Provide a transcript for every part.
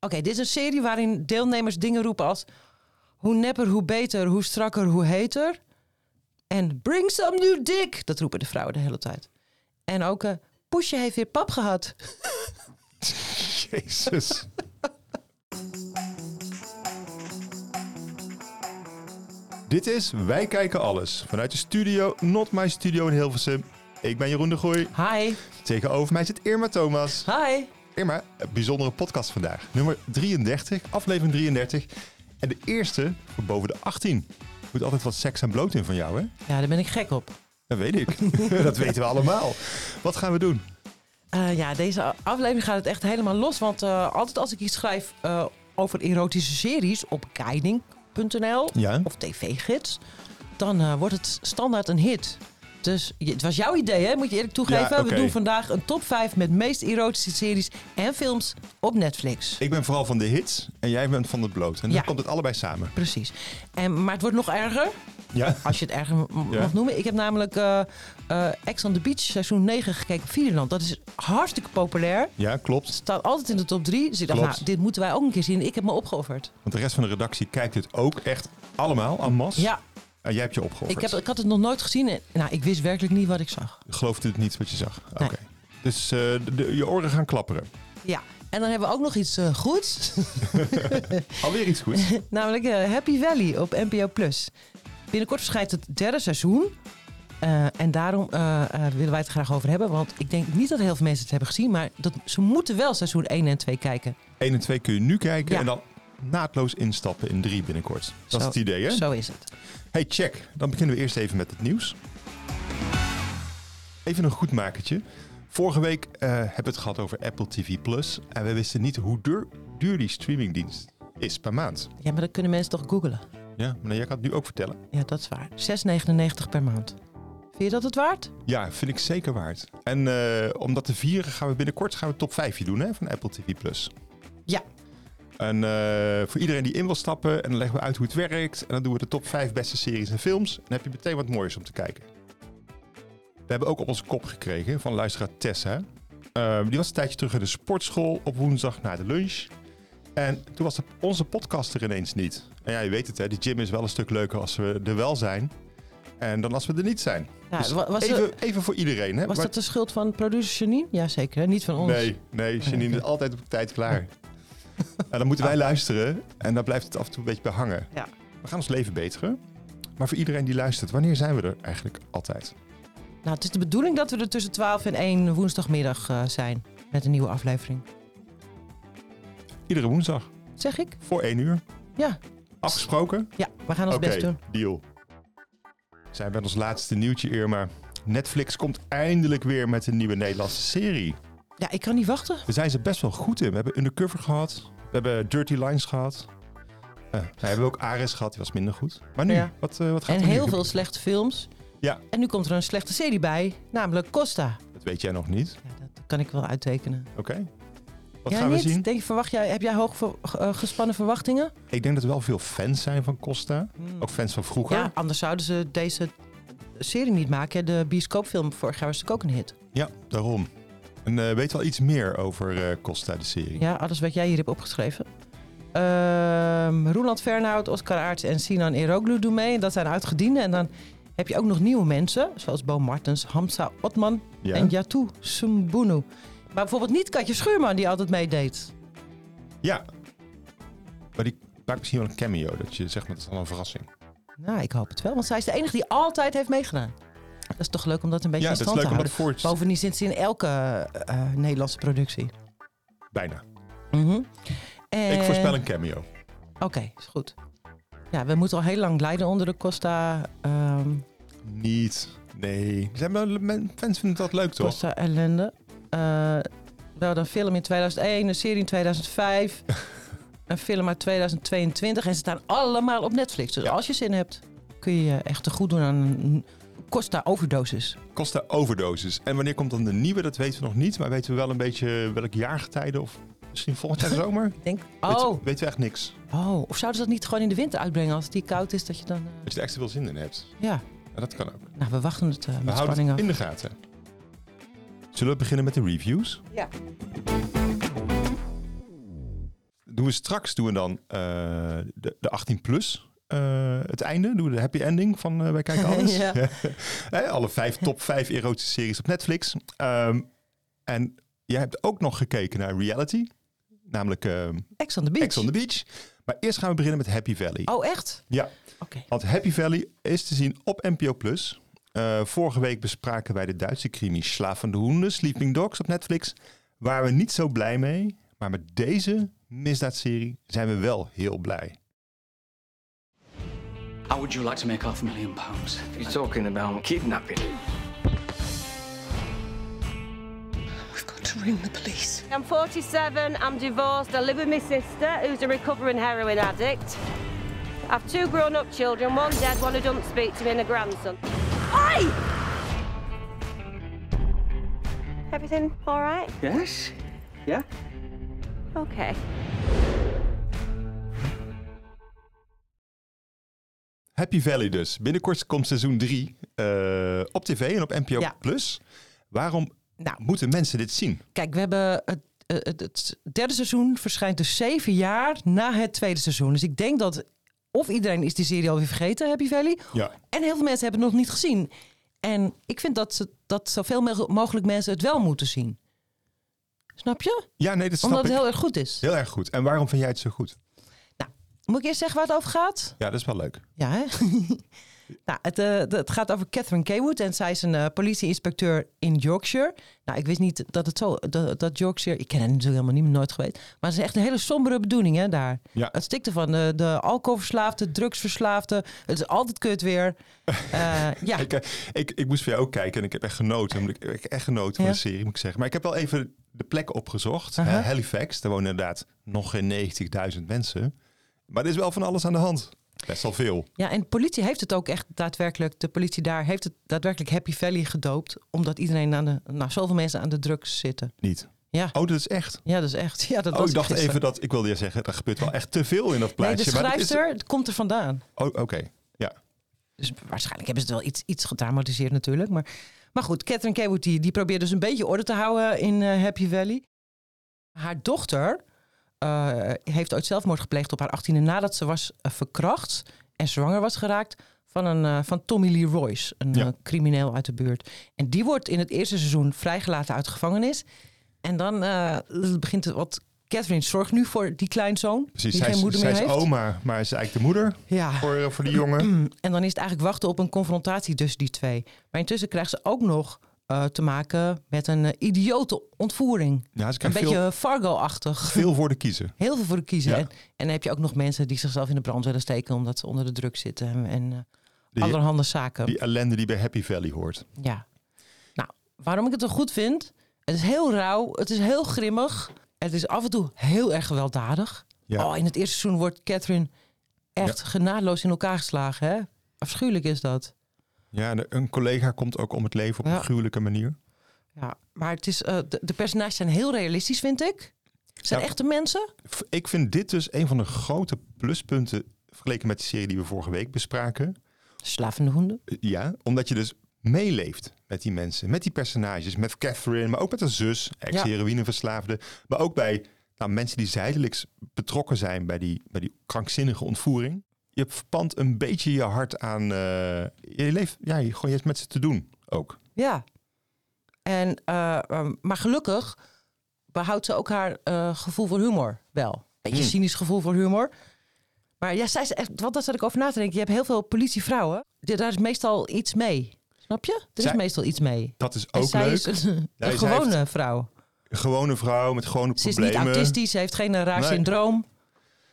dit is een serie waarin deelnemers dingen roepen als... Hoe nepper, hoe beter, hoe strakker, hoe heter. En bring some new dick. Dat roepen de vrouwen de hele tijd. En ook eh Poesje heeft weer pap gehad. Jezus. Dit is Wij Kijken Alles vanuit de studio Not My Studio in Hilversum. Ik ben Jeroen de Gooi. Hi. Tegenover mij zit Irma Thomas. Hi. Irma, een bijzondere podcast vandaag. Nummer 33, aflevering 33. En de eerste voor boven de 18. Er moet altijd wat seks en bloot in van jou, hè? Ja, daar ben ik gek op. Dat weet ik. dat weten we allemaal. Wat gaan we doen? Eh, ja, deze aflevering gaat het echt helemaal los. Want eh, altijd als ik iets schrijf eh, over erotische series op guiding.nl Ja. of tv-gids, dan eh, wordt het standaard een hit. Dus je- het was jouw idee, hè? moet je eerlijk toegeven. Ja, We oké. doen vandaag een top 5 met meest erotische series en films op Netflix. Ik ben vooral van de hits en jij bent van het bloot. En dan Ja. komt het allebei samen. Precies. En, maar het wordt nog erger, Ja? als je het erger m- Ja. mag noemen. Ik heb namelijk eh eh, Ex on the Beach seizoen 9 gekeken op Videoland. Dat is hartstikke populair. Ja, klopt. staat altijd in de top 3. Dus ik dacht, Klopt. nou, dit moeten wij ook een keer zien. Ik heb me opgeofferd. Want de rest van de redactie kijkt dit ook echt allemaal aan mas. Ja, En jij hebt je opgeofferd. ik, heb, ik had het nog nooit gezien. En, nou, ik wist werkelijk niet wat ik zag. Geloofde het niet wat je zag? Oké. Nee. Dus eh, de- de- je oren gaan klapperen. Ja, en dan hebben we ook nog iets eh, goeds. Alweer iets goeds. Namelijk eh, Happy Valley op NPO+. Plus. Binnenkort verschijnt het derde seizoen. Eh, en daarom eh, eh, willen wij het graag over hebben. Want ik denk niet dat heel veel mensen het hebben gezien. Maar dat, ze moeten wel seizoen 1 en 2 kijken. 1 en 2 kun je nu kijken Ja. en dan naadloos instappen in 3 binnenkort. Dat is Zo. het idee, hè? Zo is het. Hey, check. Dan beginnen we eerst even met het nieuws. Even een goed makertje. Vorige week eh, hebben we het gehad over Apple TV Plus. En we wisten niet hoe duur, duur die streamingdienst is per maand. Ja, maar dat kunnen mensen toch googlen? Ja, maar jij kan het nu ook vertellen. Ja, dat is waar. 6,99 per maand. Vind je dat het waard? Ja, vind ik zeker waard. En eh, om dat te vieren gaan we binnenkort gaan we top 5 doen hè, van Apple TV Plus. Ja. En eh, voor iedereen die in wil stappen, en dan leggen we uit hoe het werkt. En dan doen we de top 5 beste series en films. En dan heb je meteen wat moois om te kijken. We hebben ook op onze kop gekregen van luisteraar Tessa. Eh, die was een tijdje terug in de sportschool op woensdag na de lunch. En toen was de- onze podcast er ineens niet. En ja, je weet het hè, die gym is wel een stuk leuker als we er wel zijn. En dan als we er niet zijn. Nou, Dus wa- was er- Even, even voor iedereen. Hè? Was Maar- dat de schuld van producer Janine? Jazeker, hè? niet van ons. Nee, nee, Janine is altijd op tijd klaar. en dan moeten wij luisteren en dan blijft het af en toe een beetje bij hangen. Ah. Ja. We gaan ons leven beteren. Maar voor iedereen die luistert, wanneer zijn we er eigenlijk altijd? Nou, het is de bedoeling dat we er tussen 12 en 1 woensdagmiddag eh, zijn. Met een nieuwe aflevering. Iedere woensdag, Zeg ik? voor één uur. Ja. Afgesproken? Ja, we gaan ons Oké, best doen. deal. Zijn we met ons laatste nieuwtje, Irma. Netflix komt eindelijk weer met een nieuwe Nederlandse serie. Ja, ik kan niet wachten. Daar zijn ze best wel goed in. We hebben Undercover gehad. We hebben Dirty Lines gehad. Eh, we hebben ook Ares gehad, die was minder goed. Maar nu, Ja. wat, eh, wat gaat En er nu heel gebeuren? veel slechte films. Ja. En nu komt er een slechte serie bij, namelijk Costa. Dat weet jij nog niet. Ja, dat kan ik wel uittekenen. Oké. Wat jij gaan we niet? zien? Denk, je, verwacht jij, heb jij hoog ver- eh, gespannen verwachtingen? Hmm. Ik denk dat er wel veel fans zijn van Costa. Hmm. Ook fans van vroeger. Ja, anders zouden ze deze serie niet maken. De bioscoopfilm vorig jaar was natuurlijk ook een hit. Ja, daarom. En eh, weet wel iets meer over eh, Costa, de serie. Ja, alles wat jij hier hebt opgeschreven. Ehm Roeland Fernhout, Oscar Aerts en Sinan Eroglu doen mee. Dat zijn uitgedienden. En dan heb je ook nog nieuwe mensen. Zoals Bo Martens, Hamza Otman Ja? en Yatou Sumbunu. Maar bijvoorbeeld niet Katje Schuurman, die altijd meedeed. Ja. Maar die maakt misschien wel een cameo. Dat je zegt, maar dat is dan een verrassing. Nou, ik hoop het wel. Want zij is de enige die altijd heeft meegedaan. Dat is toch leuk om dat een beetje ja, in dat is stand leuk te om dat houden. voor te... Bovendien zit ze in elke eh, eh, Nederlandse productie. Bijna. Mhm. En... Ik voorspel een cameo. Oké, is goed. Ja, we moeten al heel lang lijden onder de Costa... ehm, Niet. Nee. Zijn wel, men- fans vinden dat leuk, toch? Costa ellende. Eh, wel dan film in 2001, een serie in 2005, een film uit 2022. En ze staan allemaal op Netflix. Dus Ja. als je zin hebt, kun je je echt te goed doen aan een Costa overdosis. Costa Overdosis. En wanneer komt dan de nieuwe? Dat weten we nog niet. Maar weten we wel een beetje welk jaargetijde of misschien volgend jaar zomer? Ik Denk, Weet- oh, weten we echt niks. oh, of zouden ze dat niet gewoon in de winter uitbrengen als het die koud is? Dat je dan, eh, Dat je er extra veel zin in hebt. ja, Ja, dat kan ook. nou, we wachten het eh, We met houden spanning het af. in de gaten. Zullen we beginnen met de reviews? Ja. De doen we straks doen we dan eh, de, de 18 plus. eh, het einde, doen we de happy ending van eh, Wij Kijken Alles. Ja. Hè, Alle vijf, top vijf erotische series op Netflix. Ehm, en jij hebt ook nog gekeken naar reality, namelijk ehm Ex on the Beach. Ex on the Beach. Maar eerst gaan we beginnen met Happy Valley. Oh, echt? Ja. Oké. Want Happy Valley is te zien op NPO+. Plus. Eh, vorige week bespraken wij de Duitse crimi Slavende Hoenden, Sleeping Dogs op Netflix. Waar we niet zo blij mee, maar met deze misdaadserie zijn we wel heel blij. How would you like to make half a million pounds? You're talking about kidnapping. We've got to ring the police. I'm 47, I'm divorced, I live with my sister who's a recovering heroin addict. I've two grown up children, one dead, one who doesn't speak to me, and a grandson. Oi! Everything alright? Yes? Yeah? Okay. Happy Valley dus. Binnenkort komt seizoen 3 op tv en op NPO+. Ja. Plus. Waarom Nou, moeten mensen dit zien? Kijk, we hebben het, eh, het, het derde seizoen verschijnt dus zeven jaar na het tweede seizoen. Dus ik denk dat of iedereen is die serie alweer vergeten, Happy Valley. Ja. En heel veel mensen hebben het nog niet gezien. En ik vind dat, ze, dat zoveel mo- mogelijk mensen het wel moeten zien. Snap je? Ja, nee, dat snap Omdat ik. het Heel... heel erg goed is. Nou, erg goed. En waarom vind jij het zo goed? Moet ik eerst zeggen waar het over gaat? Ja, dat is wel leuk. Ja, hè? nou, het, eh, d- het gaat over Catherine Kaywood en zij is een eh, politieinspecteur in Yorkshire. Nou, ik wist niet dat het zo, dat, dat Yorkshire, ik ken het natuurlijk helemaal niet, nooit geweest. Maar het is echt een hele sombere bedoeling, hè, daar. Ja. Het stikte van de, de alcoholverslaafde, drugsverslaafde. Het is altijd kut weer. Eh, ja, Ik, eh, ik, ik moest voor jou ook kijken en ik heb echt genoten. omdat Ik ik heb echt genoten van Ja. de serie, moet ik zeggen. Maar ik heb wel even de plek opgezocht. Aha. hè, Halifax, daar wonen inderdaad nog geen 90.000 mensen. Maar er is wel van alles aan de hand. Best wel veel. ja, en de politie heeft het ook echt daadwerkelijk, de politie daar heeft het daadwerkelijk Happy Valley gedoopt. Omdat iedereen aan de, nou, zoveel mensen aan de drugs zitten. Niet. Ja. Oh, dat is echt. Ja, dat is echt. Ja, dat Oh, was ik dacht gisteren. even dat, ik wilde je zeggen, er gebeurt wel echt te veel in dat Nee, de plaatsje. maar dat is- schrijfster het komt er vandaan. Oh, oké. Ja. Dus waarschijnlijk hebben ze het wel iets, iets gedramatiseerd natuurlijk. Maar, maar goed, Catherine Kaywood die, die probeert dus een beetje orde te houden in eh, Happy Valley. Haar dochter eh, heeft ooit zelfmoord gepleegd op haar 18e nadat ze was eh, verkracht en zwanger was geraakt van, een, eh, van Tommy Lee Royce, een Ja. eh, crimineel uit de buurt. En die wordt in het eerste seizoen vrijgelaten uit de gevangenis. En dan eh, begint het wat. Catherine zorgt nu voor die kleinzoon, Precies, die zij geen is, moeder zij meer is heeft. oma, maar ze is eigenlijk de moeder Ja. voor, eh, voor de jongen. En dan is het eigenlijk wachten op een confrontatie tussen die twee. Maar intussen krijgt ze ook nog eh, te maken met een eh, idiote ontvoering. Ja, ze Een krijgt beetje veel, Fargo-achtig. veel voor de kiezen. Heel veel voor de kiezen. Ja. En, en dan heb je ook nog mensen die zichzelf in de brand willen steken omdat ze onder de druk zitten. En, en eh, Die- allerhande zaken. Die ellende die bij Happy Valley hoort. Ja. Nou, waarom ik het zo goed vind. Het is heel rauw. Het is heel grimmig. Het is af en toe heel erg gewelddadig. Ja. Oh, in het eerste seizoen wordt Catherine echt genadeloos in elkaar geslagen. Hè? Afschuwelijk is dat. Ja, de- een collega komt ook om het leven op Ja. een gruwelijke manier. Ja, maar het is, eh, de, de personages zijn heel realistisch, vind ik. Het zijn Ja. echte mensen. V- Ik vind dit dus een van de grote pluspunten vergeleken met de serie die we vorige week bespraken. Slavende honden. Eh, Ja, omdat je dus meeleeft met die mensen, met die personages, met Catherine, maar ook met haar zus, ex-heroïneverslaafde. Maar ook bij nou, mensen die zijdelijks betrokken zijn bij die, bij die krankzinnige ontvoering. Je verpant een beetje je hart aan. eh, je leeft, ja, je- gewoon je hebt met ze te doen ook. Ja. En, eh, ehm, maar gelukkig behoudt ze ook haar eh, gevoel voor humor wel. Beetje Hmm. cynisch gevoel voor humor. Maar ja, zij is echt, want daar zat ik over na te denken. Je hebt heel veel politievrouwen. Die- Daar is meestal iets mee. Snap je? Er Zij- is meestal iets mee. Dat is En ook zij leuk. is een, een zij heeft gewone vrouw. Gewone vrouw met gewone Ze is niet problemen. autistisch, ze heeft geen eh, raar Nee. Ah. syndroom.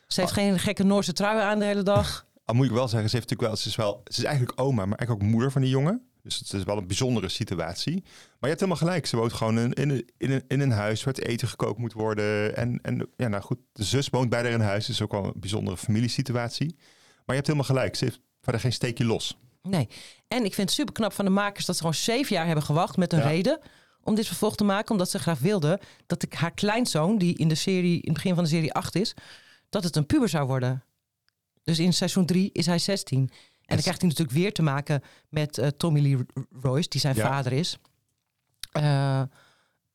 Ze heeft geen gekke Noorse trui aan de hele dag. Al Ah, moet ik wel zeggen, ze heeft natuurlijk wel, ze is wel, ze is eigenlijk oma, maar eigenlijk ook moeder van die jongen. Dus het is wel een bijzondere situatie. Maar je hebt helemaal gelijk. Ze woont gewoon in, in, een- in, een, in een huis waar het eten gekookt moet worden. En, en ja, nou goed, de zus woont bij haar in huis. Dus ook wel een bijzondere familiesituatie. Maar je hebt helemaal gelijk. Ze heeft verder geen steekje los. Nee. En ik vind het super knap van de makers dat ze gewoon zeven jaar hebben gewacht met een Ja. reden om dit vervolg te maken. Omdat ze graag wilden dat ik haar kleinzoon, die in de serie, in het begin van de serie 8 is, dat het een puber zou worden. Dus in seizoen 3 is hij 16. En dan krijgt hij natuurlijk weer te maken met eh, Tommy Lee Royce, die zijn Ja. vader is. Eh, Maar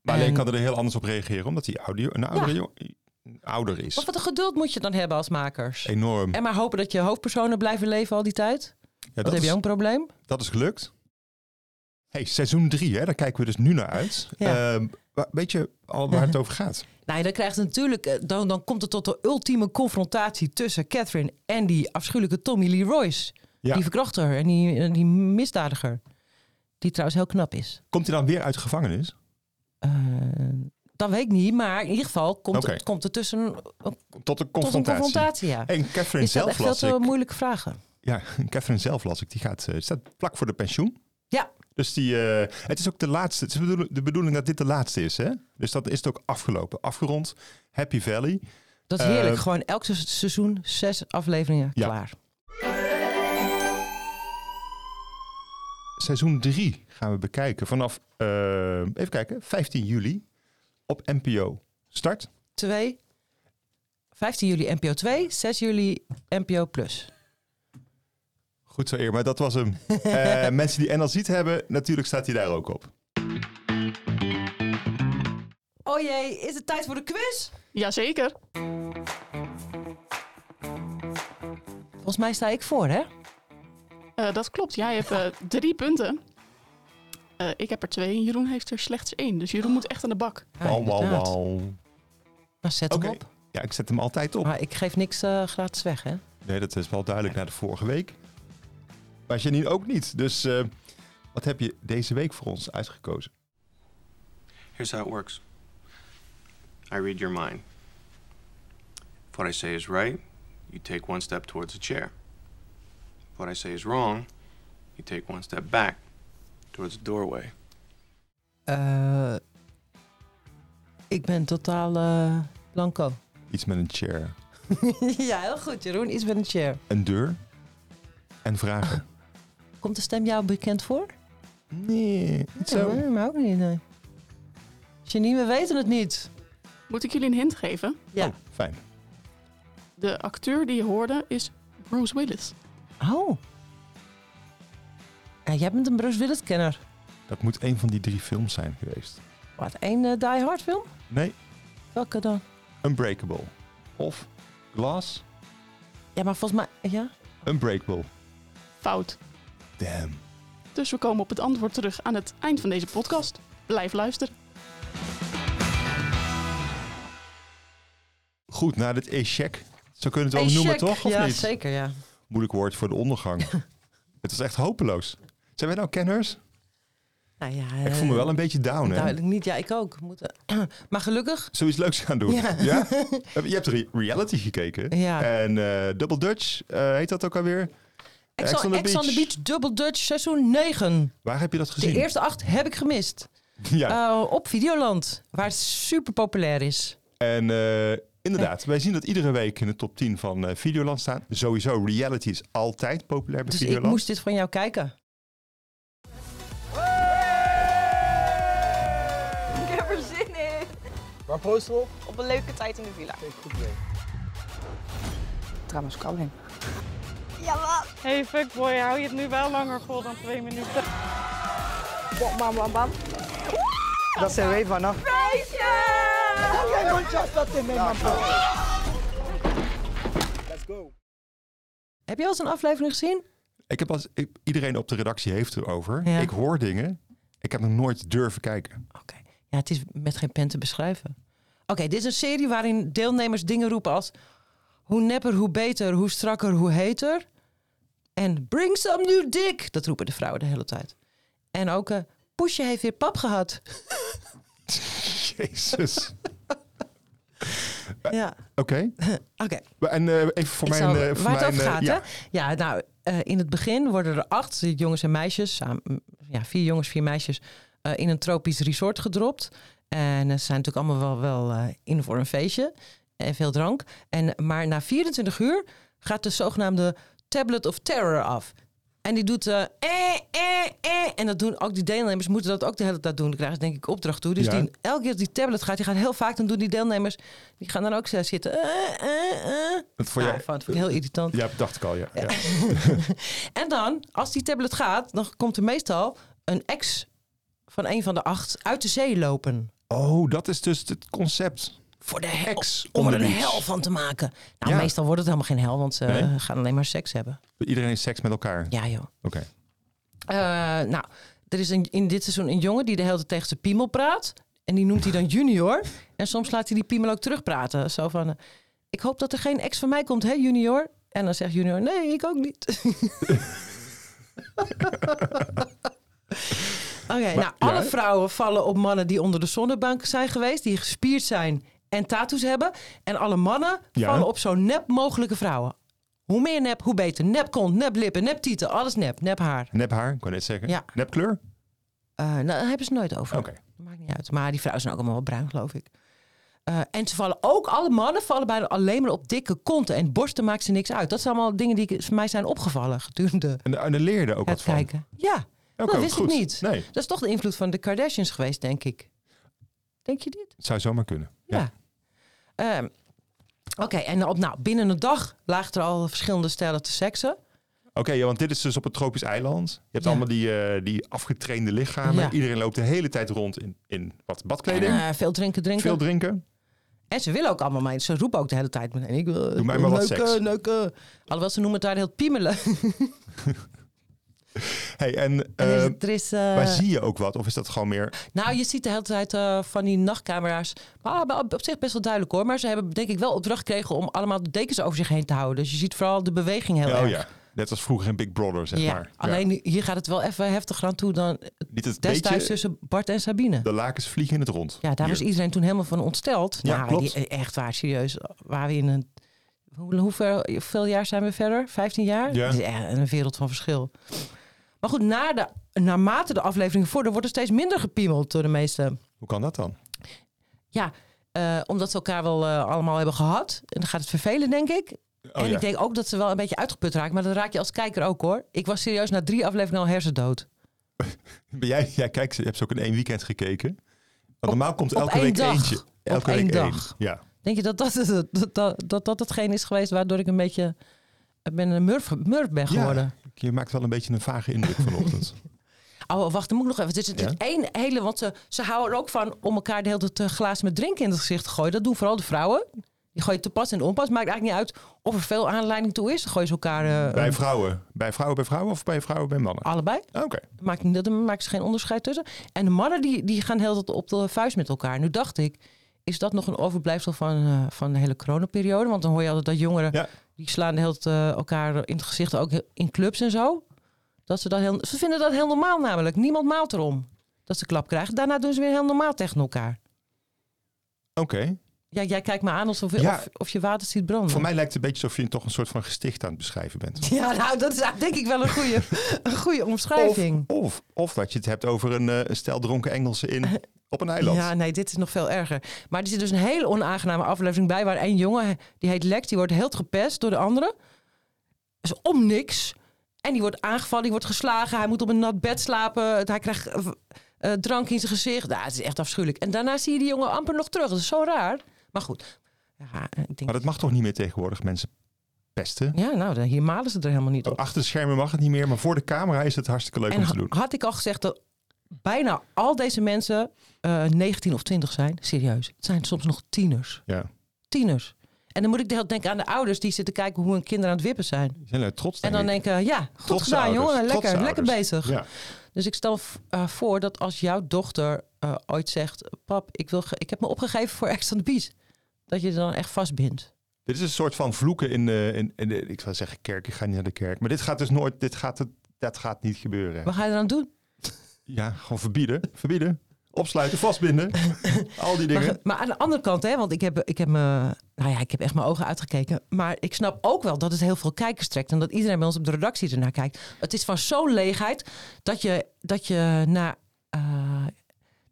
alleen En- kan er heel anders op reageren, omdat hij audio, een oudere jong- ouder Maar is. wat een geduld moet je dan hebben als makers? Enorm. En maar hopen dat je hoofdpersonen blijven leven al die tijd? Ja, dat dat, heb is, je ook een probleem? dat is gelukt. Hey, seizoen 3, hè? daar kijken we dus nu naar uit. Ja. Ehm, wa- weet je al waar het over gaat? Nou, dan krijgt het natuurlijk, eh, dan, dan komt het tot de ultieme confrontatie tussen Catherine en die afschuwelijke Tommy Lee Royce. Ja. Die verkrachter en die, en die misdadiger. Die trouwens heel knap is. Komt hij dan weer uit de gevangenis? Eh, dat weet ik niet, maar in ieder geval komt, Oké. het, komt er tussen een, Tot een tot een confrontatie. confrontatie. Ja. En Catherine Is dat zelf echt veel las te ik. moeilijke vragen? Ja, Catherine zelf las ik. Die gaat, eh, staat vlak voor de pensioen. Ja. Dus die, eh, het is ook de laatste. Het is de bedoeling- de bedoeling dat dit de laatste is. Hè? Dus dat is het ook afgelopen. Afgerond. Happy Valley. Dat is Eh, heerlijk. Gewoon elk se- seizoen zes afleveringen Ja. klaar. Seizoen 3 gaan we bekijken vanaf, eh, even kijken, 15 juli op NPO Start. 2, 15 juli NPO 2, 6 juli NPO Plus. Goed zo, Eer, maar dat was hem. Eh, mensen die NL ziet hebben, natuurlijk staat hij daar ook op. Oh jee, is het tijd voor de quiz? Jazeker. Volgens mij sta ik voor, hè? Eh, dat klopt. Jij hebt eh, drie punten. Eh, ik heb er twee en Jeroen heeft er slechts één. Dus Jeroen moet echt aan de bak. Wauw, wauw, inderdaad. wauw. Nou, zet Oké. hem op. Ja, ik zet hem altijd op. Maar ik geef niks eh, gratis weg, hè? Nee, dat is wel duidelijk na de vorige week. Maar Janine ook niet. Dus eh, wat heb je deze week voor ons uitgekozen? Here's how it works I read your mind. If what I say is right, you take one step towards the chair. If what I say is wrong, you take one step back towards the doorway. Eh, ik ben totaal eh, blanco. Iets met een chair, ja, heel goed, Jeroen. Iets met een chair. een deur en Ah. vragen. Komt de stem jou bekend voor? Nee, niet Ja, zo. nee, maar ook niet, nee. Janine, we weten het niet. Moet ik jullie een hint geven? Ja. Oh, fijn. De acteur die je hoorde is Bruce Willis. Oh. Ja, jij bent een Bruce Willis-kenner. Dat moet een van die drie films zijn geweest. Wat, één eh, Die Hard film? Nee, Welke dan? Unbreakable. Of Glass, Ja, maar volgens mij... Ja? Unbreakable. Fout. Damn. Dus we komen op het antwoord terug aan het eind van deze podcast. Blijf luisteren. Goed, nou dit échec. Zo kunnen we het Hey, wel noemen, check. toch? Of ja, niet? zeker, ja. Moeilijk woord voor de ondergang. het is echt hopeloos. Zijn wij nou kenners? Nou ja, Ik voel me wel een beetje down, hè? Duidelijk niet. Ja, ik ook. Moet, eh, maar gelukkig... Zoiets leuks gaan doen. Ja. Ja. Je hebt re- reality gekeken. Ja. En eh Double Dutch, eh, heet dat ook alweer? Ex on, Ex on the Beach Double Dutch seizoen 9. Waar heb je dat gezien? De eerste acht heb ik gemist. Ja. Eh, op Videoland, waar het super populair is. En eh, inderdaad, wij zien dat iedere week in de top 10 van eh, Videoland staan. Sowieso, reality is altijd populair bij Dus ik Videoland. moest dit van jou kijken. Ik heb er zin in. Waar proosten we op? Op een leuke tijd in de villa. Goed idee. Trouwens, Colin. Jawel. Hey fuckboy, hou je het nu wel langer vol dan twee minuten? Bam, bam, bam, bam. Dat zijn wij vanaf. Meisje! Jij doet just dat in mijn Let's go. Heb je al eens een aflevering gezien? Ik heb als, ik- iedereen op de redactie heeft erover. Ja. Ik hoor dingen. Ik heb nog nooit durven kijken. Oké. Ja, het is met geen pen te beschrijven. Oké, dit is een serie waarin deelnemers dingen roepen als... Hoe nepper, hoe beter, hoe strakker, hoe heter. En bring some new dick. Dat roepen de vrouwen de hele tijd. En ook... eh Poesje heeft weer pap gehad. Jezus. Ja, Oké. oké. En eh, even voor Ik mijn... zal- eh, voor waar het mijn, over eh, gaat, ja. hè? Ja, nou, eh, in het begin worden er acht jongens en meisjes, samen, mm, ja, vier jongens, vier meisjes, eh, in een tropisch resort gedropt. En eh, ze zijn natuurlijk allemaal wel, wel eh, in voor een feestje en veel drank. En, maar na 24 uur gaat de zogenaamde Tablet of Terror af. En die doet eh, eh, eh, eh. En dat doen ook die deelnemers, moeten dat ook de hele tijd doen. Dan krijgen ze denk ik opdracht toe. Dus Ja. die, elke keer als die tablet gaat, die gaat heel vaak, dan doen die deelnemers, die gaan dan ook zo zitten. eh, eh, eh. Want voor Nou, jou- ik vond het heel irritant. Ja, dacht ik al, ja. ja. En dan, als die tablet gaat, dan komt er meestal een ex van een van de acht uit de zee lopen. Oh, dat is dus het concept. Voor de heks. on Om the er een beach. hel van te maken. Nou, Ja. meestal wordt het helemaal geen hel, want ze Nee? eh, gaan alleen maar seks hebben. Iedereen heeft seks met elkaar? Ja, joh. Oké. Eh, nou, er is een, in dit seizoen een jongen die de hele tijd tegen zijn piemel praat. En die noemt hij dan junior. En soms laat hij die piemel ook terugpraten. Zo van, eh, ik hoop dat er geen ex van mij komt, hè junior? En dan zegt junior, nee, ik ook niet. Oké, nou, ja. alle vrouwen vallen op mannen die onder de zonnebank zijn geweest. Die gespierd zijn en tattoos hebben. En alle mannen Ja. vallen op zo nep mogelijke vrouwen. Hoe meer nep, hoe beter. Nep kont, nep lippen, nep tieten. Alles nep, nep haar. Nep haar, ik wou net zeggen. Ja. Nep kleur? Eh, nou, daar hebben ze het nooit over. Oké. Dat maakt niet uit. Maar die vrouwen zijn ook allemaal wel bruin, geloof ik. Eh, en ze vallen ook, alle mannen vallen bijna alleen maar op dikke konten. En borsten maakt ze niks uit. Dat zijn allemaal dingen die ik- voor mij zijn opgevallen gedurende. En daar daar leerde ook wat van. kijken. Ja, Oké, dat wist goed. Nou. ik niet. Nee. Dat is toch de invloed van de Kardashians geweest, denk ik. Denk je dit? Het zou zomaar kunnen. Ja. Ehm, Oké, en op, nou, binnen een dag lagen er al verschillende stijlen te seksen. Oké, ja, want dit is dus op een tropisch eiland. Je hebt allemaal die, eh, die afgetrainde lichamen. Ja. Iedereen loopt de hele tijd rond in, in wat En, badkleding. eh, veel drinken, drinken. Veel drinken. En ze willen ook allemaal mij. Ze roepen ook de hele tijd meteen. Ik wil, Doe mij maar wat neuken, seks. neuken. Alhoewel, ze noemen het daar heel piemelen. Hey, en En is eh, het- er is, eh, maar zie je ook wat? Of is dat gewoon meer... nou, je ziet de hele tijd eh, van die nachtcamera's. Maar op- op zich best wel duidelijk hoor. Maar ze hebben denk ik wel opdracht gekregen om allemaal de dekens over zich heen te houden. Dus je ziet vooral de beweging heel oh erg. ja, net als vroeger in Big Brother, zeg Ja, maar. Ja. Alleen hier gaat het wel even heftiger aan toe dan Niet het destijds beetje- tussen Bart en Sabine. De lakens vliegen in het rond. Ja, daar Hier. was iedereen toen helemaal van ontsteld. Ja, nou, klopt. Die, echt waar, serieus. Waar we in een. Hoe, hoeveel, hoeveel jaar zijn we verder? 15 jaar? Ja. Dat is echt een wereld van verschil. Maar goed, na de, naarmate de aflevering voordat wordt er steeds minder gepiemeld door de meesten. Hoe kan dat dan? Ja, eh, omdat ze elkaar wel eh, allemaal hebben gehad. En dan gaat het vervelen, denk ik. en Oh, ja. ik denk ook dat ze wel een beetje uitgeput raken. Maar dat raak je als kijker ook hoor. Ik was serieus na drie afleveringen al hersendood. Ben jij, jij kijkt, je hebt ze ook in één weekend gekeken. Want normaal komt op elke één week dag. eentje. Op Elke één week dag. één. Ja. Denk je dat dat, dat, dat, dat, dat, dat hetgeen is geweest waardoor ik een beetje... Ik ben een murf, murf ben geworden. ja, je maakt wel een beetje een vage indruk vanochtend. Oh, wacht, dan moet ik nog even. Het is het is Ja? één hele, want ze, ze houden er ook van om elkaar de hele tijd eh, glazen met drinken in het gezicht te gooien. Dat doen vooral de vrouwen. Die gooien te pas en onpas. Maakt eigenlijk niet uit of er veel aanleiding toe is. Dan gooien ze elkaar eh, bij eh, vrouwen. Bij vrouwen bij vrouwen of bij vrouwen bij mannen? allebei. Oké. Maakt, niet, daar maken ze geen onderscheid tussen. En de mannen die, die gaan heel dat op de vuist met elkaar. Nu dacht ik, is dat nog een overblijfsel van, eh, van de hele coronaperiode? Want dan hoor je altijd dat jongeren, die slaan de hele tijd, eh, elkaar in het gezicht, ook in clubs en zo. Dat ze, dat heel, ze vinden dat heel normaal namelijk. Niemand maalt erom dat ze klap krijgen. Daarna doen ze weer heel normaal tegen elkaar. Oké. Ja, jij kijkt me aan alsof Ja. of, of je water ziet branden. Voor mij lijkt het een beetje alsof je toch een soort van gesticht aan het beschrijven bent. Ja, nou, dat is eigenlijk denk ik wel een goede, een goede Of, omschrijving. of, of dat je het hebt over een, eh, een stel dronken Engelsen in, op een eiland. Ja, nee, dit is nog veel erger. Maar er zit dus een hele onaangename aflevering bij... waar één jongen, die heet Lex, die wordt heel gepest door de anderen. Dus om niks. En die wordt aangevallen, die wordt geslagen. Hij moet op een nat bed slapen. Het- Hij krijgt eh, eh, drank in zijn gezicht. Nou, het is echt afschuwelijk. En daarna zie je die jongen amper nog terug. Dat is zo raar. Maar goed. Ja, eh, ik denk... Maar dat mag toch niet meer tegenwoordig mensen pesten? Ja, nou, dan- hier malen ze er helemaal niet op. Achter de schermen mag het niet meer, maar voor de camera is het hartstikke leuk En om te ha- doen. had ik al gezegd dat bijna al deze mensen eh 19 of 20 zijn. Serieus. Het zijn soms nog tieners. Ja. Tieners. En dan moet ik de hele tijd denken aan de ouders die zitten kijken hoe hun kinderen aan het wippen zijn. Die zijn er trots, En dan denk ik. denken, ja, goed Trotse gedaan ouders, jongen, trotse lekker, lekker ouders. bezig. Ja. Dus ik stel v- eh, voor dat als jouw dochter eh, ooit zegt, pap, ik, wil ge- ik heb me opgegeven voor Ex on the Beach. Dat je er dan echt vastbindt. Dit is een soort van vloeken in de, in, in de- ik zou zeggen kerk, ik ga niet naar de kerk. Maar dit gaat dus nooit, dit gaat, het, dat gaat niet gebeuren. Wat ga je dan doen? Ja, gewoon verbieden, verbieden. Opsluiten, vastbinden, al die dingen. Maar, maar aan de andere kant, hè, want ik heb, ik, heb me, nou ja, ik heb echt mijn ogen uitgekeken. Maar ik snap ook wel dat het heel veel kijkers trekt. En dat iedereen bij ons op de redactie ernaar kijkt. Het is van zo'n leegheid dat je, dat je na. eh,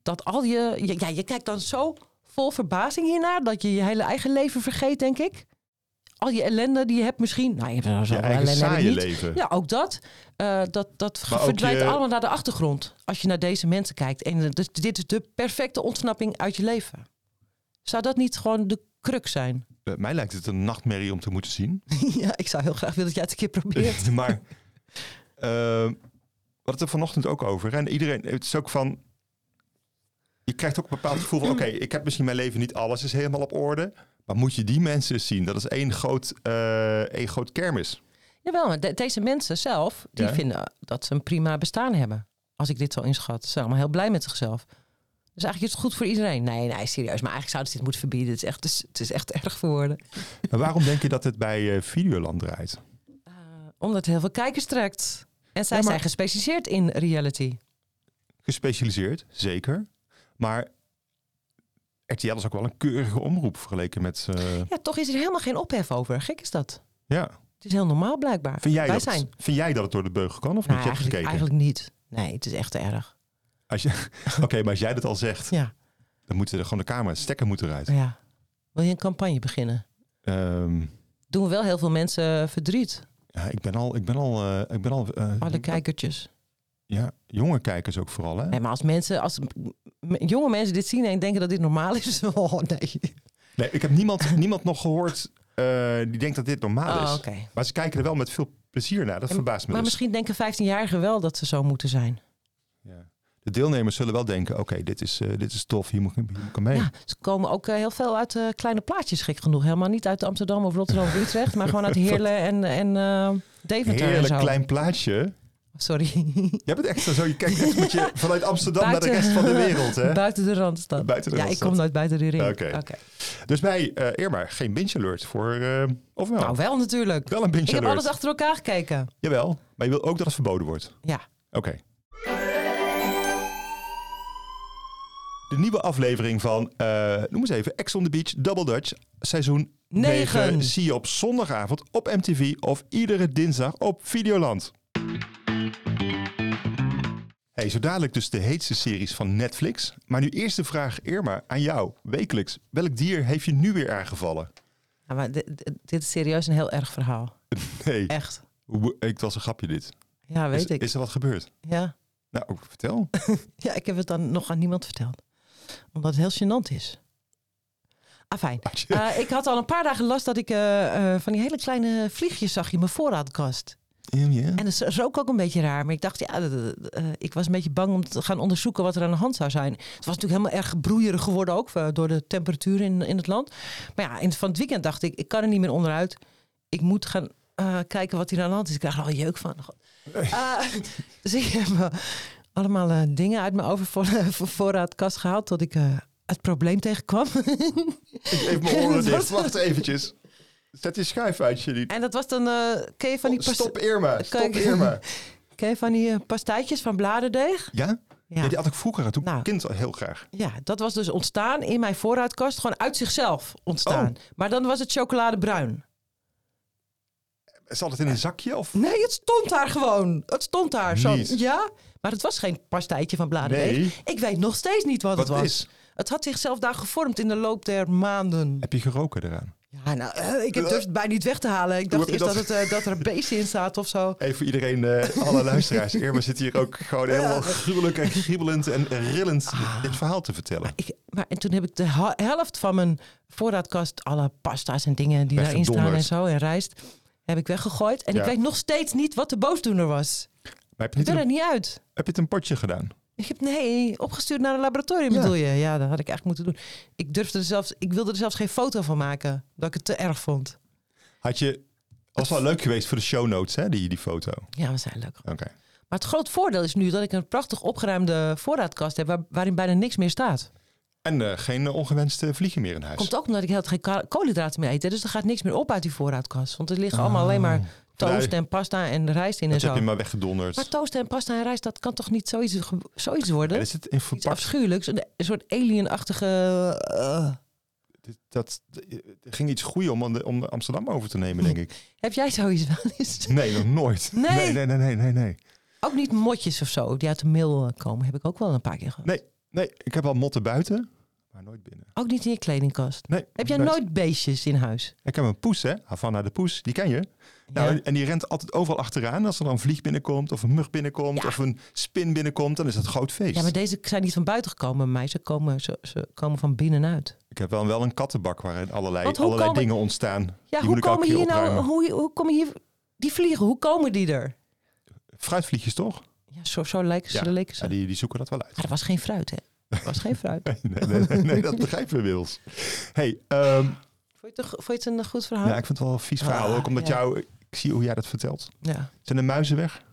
dat al je, je- Ja, je kijkt dan zo vol verbazing hiernaar. dat je je hele eigen leven vergeet, denk ik. Al je ellende die je hebt misschien. Nou, je hebt er zo Je wel eigen ellende, heb ik saaie niet. leven. Ja, ook dat. eh, dat dat Maar ook verdwijnt je- allemaal naar de achtergrond. Als je naar deze mensen kijkt. En eh, dus dit is de perfecte ontsnapping uit je leven. Zou dat niet gewoon de kruk zijn? Eh, Mij lijkt het een nachtmerrie om te moeten zien. ja, ik zou heel graag willen dat jij het een keer probeert. maar eh, we hadden het er vanochtend ook over. En iedereen, het is ook van, je krijgt ook een bepaald gevoel van... oké, ik heb misschien mijn leven niet, alles is helemaal op orde. Maar moet je die mensen eens zien? Dat is één groot, eh, één groot kermis. Jawel, maar de- deze mensen zelf, die Ja. vinden eh, dat ze een prima bestaan hebben. Als ik dit zo inschat. Ze zijn allemaal heel blij met zichzelf. Dus eigenlijk is het goed voor iedereen. Nee, nee, serieus. Maar eigenlijk zouden ze dit moeten verbieden. Het is echt, het is, het is echt erg voor woorden. Maar waarom denk je dat het bij eh, Videoland draait? Omdat het heel veel kijkers trekt. En zij Eh, Ja, maar- zijn gespecialiseerd in reality. Gespecialiseerd, zeker. Maar RTL is ook wel een keurige omroep vergeleken met... eh, Ja, toch is er helemaal geen ophef over. Gek is dat. ja. Het is heel normaal blijkbaar. Vind jij, Wij dat, zijn. vind jij dat het door de beugel kan Nou, of niet? Je hebt eigenlijk, gekeken. eigenlijk niet. Nee, het is echt erg. Als je, Oké, maar als jij dat al zegt, Ja. dan moeten er gewoon de camera, het stekker moet eruit. Ja. Wil je een campagne beginnen? Ehm, Doen we wel heel veel mensen verdriet. ja, ik ben al, ik ben al, eh, ik ben al eh, Alle kijkertjes. ja, jonge kijkers ook vooral. Hè? Nee, maar als mensen, als m- m- jonge mensen dit zien en denken dat dit normaal is, oh nee. Nee, ik heb niemand, niemand nog gehoord eh, die denkt dat dit normaal Oh, is. oké. Maar ze kijken er wel met veel plezier naar. Dat verbaast me Maar dus. misschien denken 15-jarigen wel dat ze zo moeten zijn. De deelnemers zullen wel denken, oké, dit, is, eh, dit is tof, hier moet, ik- hier moet ik aan mee. Ja, ze komen ook eh, heel veel uit eh, kleine plaatjes, gek genoeg. Helemaal niet uit Amsterdam of Rotterdam of Utrecht, maar gewoon uit Heerlen en, en eh, Deventer en Heerlijk zo. klein plaatje. Sorry. Jij bent echt zo, je kijkt echt met je vanuit Amsterdam naar de Buiten- rest van de wereld. Hè? Buiten de Randstad. Buiten de ja, Randstad. ik kom nooit buiten de ring. Oké. Dus bij eh Irma geen binge alert voor, eh, of wel? Nou, wel natuurlijk. Wel een binge ik heb alert. alles achter elkaar gekeken. Jawel, maar je wil ook dat het verboden wordt. Ja. Oké. De nieuwe aflevering van, eh, noem eens even, Ex on the Beach Double Dutch, seizoen Negen. 9. Zie je op zondagavond op MTV of iedere dinsdag op Videoland. Hey, zo dadelijk dus de heetste series van Netflix. Maar nu eerst de vraag, Irma, aan jou, wekelijks. Welk dier heeft je nu weer aangevallen? Ja, Nou, maar dit, dit- dit is serieus een heel erg verhaal. Nee. Echt. Hoe- Ik was een grapje dit. Ja, weet is, ik. Is er wat gebeurd? Ja. Nou, ook vertel. Ja, ik heb het dan nog aan niemand verteld. Omdat het heel gênant is. Afijn. Eh ik had al een paar dagen last dat ik eh, eh, van die hele kleine vliegjes zag in mijn voorraadkast. En dat rook ook een beetje raar. Maar ik dacht, ja, dat- dat- dat, eh, ik was een beetje bang om te gaan onderzoeken wat er aan de hand zou zijn. Het was natuurlijk helemaal erg broeierig geworden ook eh, door de temperatuur in, in het land. Maar ja, in, het- van het weekend dacht ik, ik kan er niet meer onderuit. Ik moet gaan eh, kijken wat hier aan de hand is. Ik krijg er al jeuk van. God. Eh, dus ik heb eh, allemaal eh, dingen uit mijn overvoorraadkast gehaald tot ik eh, het probleem tegenkwam. Even mijn oren dicht. Wacht eventjes. Zet die schuif uit, jullie. en dat was dan, eh ken je van die... pas- Oh, Stop Irma, stop Kijk. Irma. Ken je van die eh, pastijtjes van bladerdeeg? Ja. Ja? Nou. ja? die had ik vroeger, toen ik kind al heel graag. Ja, dat was dus ontstaan in mijn voorraadkast. Gewoon uit zichzelf ontstaan. Maar dan was het chocoladebruin. Zat het in een zakje? Of? Nee, het stond daar gewoon. Het stond daar. Zo, Niet. ja, maar het was geen pastijtje van bladerdeeg. Nee. Ik weet nog steeds niet wat, Wat het was. is? Het had zichzelf daar gevormd in de loop der maanden. Heb je geroken eraan? Ja, nou, eh, ik heb durfde het bij niet weg te halen. Ik dacht heb je eerst dat, dat- het, eh, dat er een beestje in staat of zo. Even voor iedereen, eh, alle luisteraars. Irma zit hier ook gewoon helemaal gruwelijk en griebelend en rillend dit verhaal te vertellen. Ah. Ik, maar en toen heb ik de ha- helft van mijn voorraadkast, alle pasta's en dingen die daarin staan en Weggedonderd. zo en rijst, heb ik weggegooid. En Ja. ik weet nog steeds niet wat de boosdoener was. Maar heb je, Ik niet ben er een, niet uit. heb je het een potje gedaan? Ik heb nee, opgestuurd naar een laboratorium Ja. bedoel je? Ja, dat had ik eigenlijk moeten doen. Ik durfde er zelfs, ik wilde er zelfs geen foto van maken, dat ik het te erg vond. Had je... Was wel leuk geweest voor de show notes, hè, die, die foto. Oké. Ja, we zijn leuk. Maar het groot voordeel is nu dat ik een prachtig opgeruimde voorraadkast heb, waar- waarin bijna niks meer staat. En eh, geen eh, ongewenste vliegen meer in huis. Komt ook omdat ik heel geen ka- koolhydraten meer eet. hè. Dus er gaat niks meer op uit die voorraadkast. Want er liggen allemaal alleen maar toast Lui. en pasta en rijst in en dat zo. Oh, heb je maar weggedonderd. Maar toast en pasta en rijst, dat kan toch niet zoiets, ge- zoiets worden? Er zit in Iets verpakt. afschuwelijks. Een, een soort alienachtige... eh. Dit- Dat er ging iets goeie om, aan de- om Amsterdam over te nemen, denk ik. Heb jij zoiets wel eens? Nee, nog nooit. Nee. Nee, nee, nee, nee, nee. Nee, Ook niet motjes of zo, die uit de mail eh, komen. Heb ik ook wel een paar keer gehad. nee, nee. ik heb al motten buiten, maar nooit binnen. Ook niet in je kledingkast. Nee, Heb jij nooit. nooit beestjes in huis? Ik heb een poes, hè? Havana de poes, die ken je. Nou, en- En die rent altijd overal achteraan. Als er dan een vlieg binnenkomt, of een mug binnenkomt, of een spin binnenkomt, dan is het een groot feest. Ja, maar deze zijn niet van buiten gekomen bij mij. Ze komen, ze, ze komen van binnenuit. Ik heb wel, wel een kattenbak waarin allerlei, Want hoe allerlei komen- dingen ontstaan. Ja, die hoe moet ik elke komen keer hier nou... opruimen. Hoe, hoe komen hier... Die vliegen, hoe komen die er? Fruitvliegjes, toch? Ja, zo, zo lijken ze, Ja. daar leken ze. Ja, die, die zoeken dat wel uit. Maar er was geen fruit, hè? was geen fruit. nee, nee, nee, nee, dat begrijpen we inmiddels. Hey, ehm, Vond je, het, vond je het een eh, goed verhaal? ja, ik vind het wel een vies verhaal. Ah, ook omdat ja. jou, ik zie hoe jij dat vertelt. Ja. Zijn de muizen weg?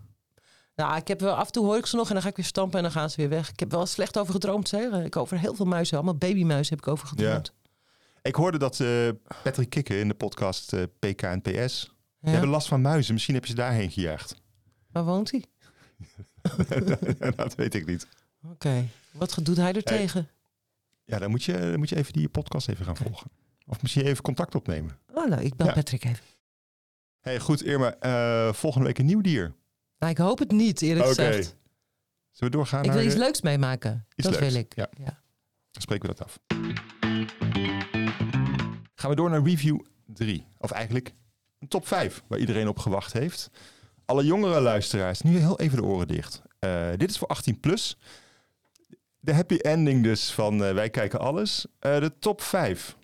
Nou, ik heb wel af en toe hoor ik ze nog en dan ga ik weer stampen en dan gaan ze weer weg. Ik heb wel slecht over gedroomd, zeg. Ik heb over heel veel muizen, allemaal babymuizen heb ik over gedroomd. Ik hoorde dat eh, Patrick Kikker in de podcast eh, PK en PS. Ja. Die hebben last van muizen. Misschien heb je ze daarheen gejaagd. Waar woont hij? dat weet ik niet. Oké. Wat doet hij er Hey. tegen? Ja, dan moet, je, dan moet je even die podcast even gaan volgen. Of misschien even contact opnemen. Oh, nou, ik bel Ja. Patrick even. hey, goed Irma. eh, volgende week een nieuw dier. Nou, ik hoop het niet, eerlijk gezegd. Zullen we doorgaan Ik naar... wil iets eh, leuks meemaken. iets dat leuks. wil ik. Ja. Ja. Dan spreken we dat af. Gaan we door naar review 3. Of eigenlijk een top 5 waar iedereen op gewacht heeft. Alle jongere luisteraars, nu heel even de oren dicht. Eh, dit is voor 18 plus. De happy ending dus van eh, Wij Kijken Alles. Eh, de top 5